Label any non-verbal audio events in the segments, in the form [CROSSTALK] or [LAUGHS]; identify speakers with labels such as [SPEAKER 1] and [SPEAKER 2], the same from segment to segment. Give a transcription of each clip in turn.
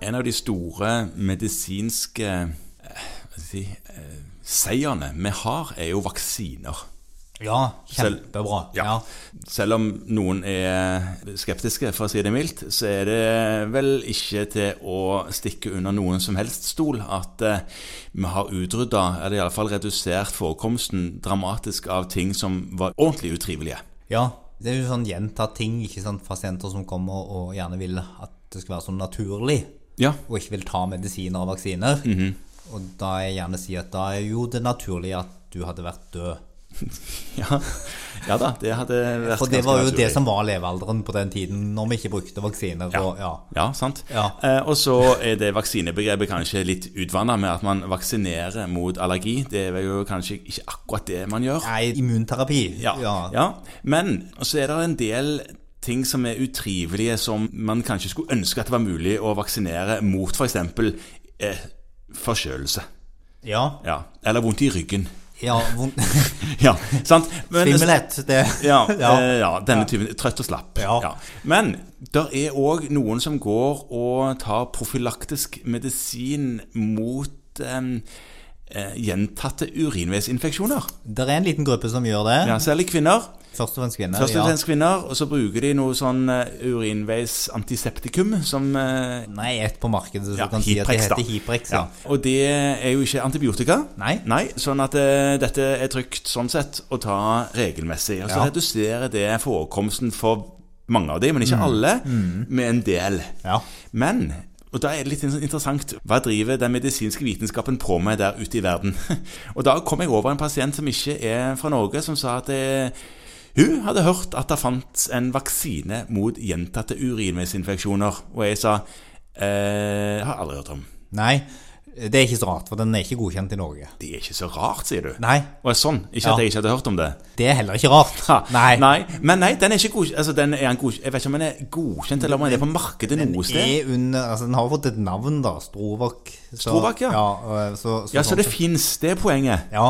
[SPEAKER 1] en av de store medisinske eh, hva skal jeg si, eh, seierne vi har, er jo vaksiner.
[SPEAKER 2] Ja,
[SPEAKER 1] Selv-
[SPEAKER 2] kjempebra.
[SPEAKER 1] Ja. Selv om noen er skeptiske, for å si det mildt, så er det vel ikke til å stikke under noen som helst stol at eh, vi har utrydda, eller iallfall redusert forekomsten dramatisk av ting som var ordentlig utrivelige.
[SPEAKER 2] Ja, det er jo sånn gjentatt ting, ikke sant? Pasienter som kommer og gjerne vil at det skal være sånn naturlig,
[SPEAKER 1] Ja, [LAUGHS]
[SPEAKER 2] og ikke vil ta medisiner og vaksiner.
[SPEAKER 1] Mhm.
[SPEAKER 2] Og da jeg gjerne sier at da er jo det naturlig at du hadde vært død.
[SPEAKER 1] ja, ja da, det hadde vært
[SPEAKER 2] For det
[SPEAKER 1] ganske
[SPEAKER 2] var jo det
[SPEAKER 1] naturlig.
[SPEAKER 2] som var levealderen på den tiden, når vi ikke brukte vaksiner. Og, ja.
[SPEAKER 1] Ja, sant.
[SPEAKER 2] Ja.
[SPEAKER 1] Eh, og så er det vaksinebegrepet kanskje litt utvanna med at man vaksinerer mot allergi. Det er jo kanskje ikke akkurat det man gjør.
[SPEAKER 2] Nei, immunterapi.
[SPEAKER 1] Ja, ja. Men så er det en del ting som er utrivelige, som man kanskje skulle ønske at det var mulig å vaksinere mot f.eks. Eh, forkjølelse.
[SPEAKER 2] Ja,
[SPEAKER 1] Ja. Eller vondt i ryggen.
[SPEAKER 2] ja, vondt-
[SPEAKER 1] Ja, sant? [LAUGHS] Men-
[SPEAKER 2] Svimmelhet. Det.
[SPEAKER 1] Ja,
[SPEAKER 2] [LAUGHS] Ja.
[SPEAKER 1] eh, ja denne typen. Trøtt og slapp.
[SPEAKER 2] Ja.
[SPEAKER 1] Men der er òg noen som går og tar profylaktisk medisin mot em, eh, gjentatte urinveisinfeksjoner.
[SPEAKER 2] Det er en liten gruppe som gjør det.
[SPEAKER 1] Ja, særlig kvinner.
[SPEAKER 2] Først og fremst kvinner.
[SPEAKER 1] Først og
[SPEAKER 2] Mhm. ja.
[SPEAKER 1] fremst kvinner, og så bruker de noe sånn eh, urinveisantiseptikum som eh,
[SPEAKER 2] Nei, ett på markedet som
[SPEAKER 1] Ja,
[SPEAKER 2] kan si at det
[SPEAKER 1] Hiprex, da.
[SPEAKER 2] heter Hiprex.
[SPEAKER 1] ja.
[SPEAKER 2] Ja.
[SPEAKER 1] Og det er jo ikke antibiotika.
[SPEAKER 2] Nei.
[SPEAKER 1] Sånn at eh, dette er trygt sånn sett å ta regelmessig. Og så
[SPEAKER 2] Ja.
[SPEAKER 1] reduserer det forekomsten for mange av de, men ikke alle, med en del.
[SPEAKER 2] Mm. Ja.
[SPEAKER 1] Men og da er det litt in- interessant. Hva driver den medisinske vitenskapen på med der ute i verden? [LAUGHS] Og da kom jeg over en pasient som ikke er fra Norge, som sa at eh, hun hadde hørt at det fantes en vaksine mot gjentatte urinveisinfeksjoner. Og jeg sa eh, har aldri hørt om.
[SPEAKER 2] Nei, det er ikke så rart, for den er ikke godkjent i Norge.
[SPEAKER 1] Det er ikke så rart, sier du.
[SPEAKER 2] Nei,
[SPEAKER 1] Og sånn, Ikke
[SPEAKER 2] Ja.
[SPEAKER 1] at jeg ikke hadde hørt om det.
[SPEAKER 2] det er heller ikke rart.
[SPEAKER 1] Ha,
[SPEAKER 2] Nei,
[SPEAKER 1] Men nei, den er ikke godkjent. Altså, den er en godkjent. Jeg vet ikke om den er godkjent, eller om den er på markedet noe sted.
[SPEAKER 2] Er under, altså, den har fått et navn, da. Strovak. Så,
[SPEAKER 1] Strovak, ja.
[SPEAKER 2] ja, øh, så,
[SPEAKER 1] Ja, Så
[SPEAKER 2] sånn
[SPEAKER 1] det fins, det er poenget.
[SPEAKER 2] Ja,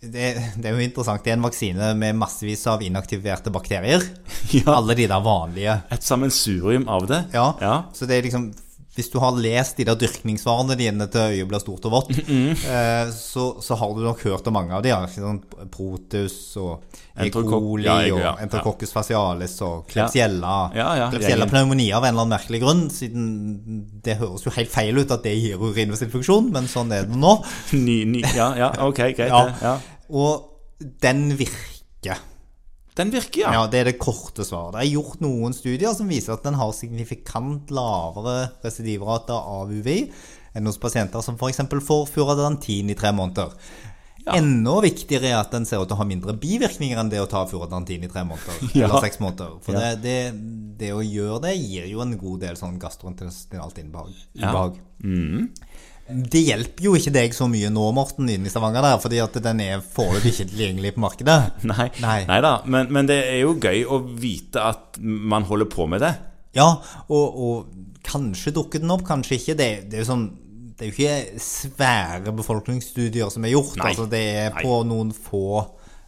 [SPEAKER 2] det, det er jo interessant. Det er en vaksine med massevis av inaktiverte bakterier.
[SPEAKER 1] Ja.
[SPEAKER 2] Alle de der vanlige.
[SPEAKER 1] Et sammensurium av det.
[SPEAKER 2] Ja.
[SPEAKER 1] ja.
[SPEAKER 2] Så det er liksom Hvis du har lest de der dyrkningsvarene dine til øyet blir stort og vått,
[SPEAKER 1] Mm,
[SPEAKER 2] eh, så, så har du nok hørt om mange av de. ja. Ikke sant? Proteus og E.
[SPEAKER 1] Enterokokk-
[SPEAKER 2] coli
[SPEAKER 1] ja, jeg- ja,
[SPEAKER 2] og Enterococcus facialis og klebsiella.
[SPEAKER 1] Ja, ja,
[SPEAKER 2] klebsiella
[SPEAKER 1] gjengen.
[SPEAKER 2] pneumoni av en eller annen merkelig grunn, siden det høres jo helt feil ut at det gir urinveisinfeksjon, men sånn er det nå.
[SPEAKER 1] Ny, ny, ja, ja, ok, greit.
[SPEAKER 2] Ja.
[SPEAKER 1] det, Ja.
[SPEAKER 2] Og den virker.
[SPEAKER 1] Den virker, ja.
[SPEAKER 2] Ja, Det er det korte svaret. Det er gjort noen studier som viser at den har signifikant lavere residivrate av UVI enn hos pasienter som f.eks. får furadantin i tre måneder. Enda viktigere er at den ser ut til å ha mindre bivirkninger enn det å ta furadantin i tre måneder.
[SPEAKER 1] [LAUGHS] Ja.
[SPEAKER 2] Eller seks måneder. For
[SPEAKER 1] Ja.
[SPEAKER 2] det, det, det å gjøre det gir jo en god del sånn gastrointestinalt innbehag. ubehag.
[SPEAKER 1] Mm.
[SPEAKER 2] Det hjelper jo ikke deg så mye nå, Morten, inne i Stavanger der, fordi at den er foreløpig ikke tilgjengelig på markedet.
[SPEAKER 1] [LAUGHS] Nei,
[SPEAKER 2] Nei.
[SPEAKER 1] da. Men, men det er jo gøy å vite at man holder på med det.
[SPEAKER 2] Ja, og, og kanskje dukket den opp, kanskje ikke. Det, det, er, jo sånn, det er jo ikke svære befolkningsstudier som er gjort.
[SPEAKER 1] Nei.
[SPEAKER 2] Altså, det er
[SPEAKER 1] Nei.
[SPEAKER 2] på noen få,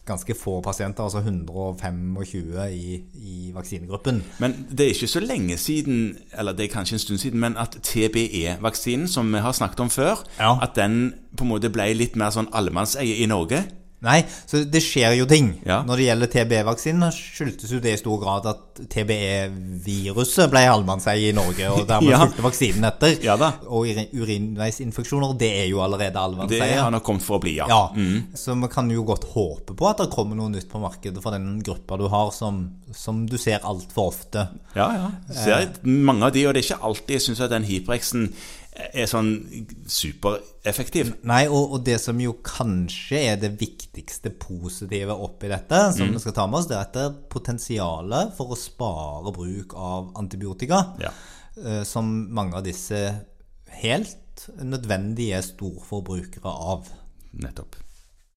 [SPEAKER 2] ganske få pasienter, altså 125 i, i vaksinegruppen.
[SPEAKER 1] Men det er ikke så lenge siden, eller det er kanskje en stund siden, men at TBE-vaksinen, som vi har snakket om før,
[SPEAKER 2] Ja.
[SPEAKER 1] at den på en måte ble litt mer sånn allemannseie i Norge.
[SPEAKER 2] Nei, så det skjer jo ting.
[SPEAKER 1] Ja.
[SPEAKER 2] Når det gjelder TBE-vaksinen, skyldtes jo det i stor grad at TBE-viruset ble allmannseie i Norge, og dermed
[SPEAKER 1] Ja.
[SPEAKER 2] fulgte vaksinen etter.
[SPEAKER 1] Ja da.
[SPEAKER 2] Og urin- urinveisinfeksjoner, det er jo allerede
[SPEAKER 1] Det
[SPEAKER 2] allmannseie.
[SPEAKER 1] har nok kommet for å bli, ja. Mm.
[SPEAKER 2] Ja, så vi kan jo godt håpe på at det kommer noe nytt på markedet for den gruppa du har, som, som du ser altfor ofte.
[SPEAKER 1] Ja, ja. Ser jeg mange av de, og det er ikke alltid jeg syns at den hyperexen er sånn supereffektiv.
[SPEAKER 2] Nei, og, og det som jo kanskje er det viktigste positive oppi dette,
[SPEAKER 1] Mm.
[SPEAKER 2] som vi skal ta med oss, det er at det er potensialet for å spare bruk av antibiotika,
[SPEAKER 1] Ja.
[SPEAKER 2] eh, som mange av disse helt nødvendige storforbrukere av.
[SPEAKER 1] Nettopp.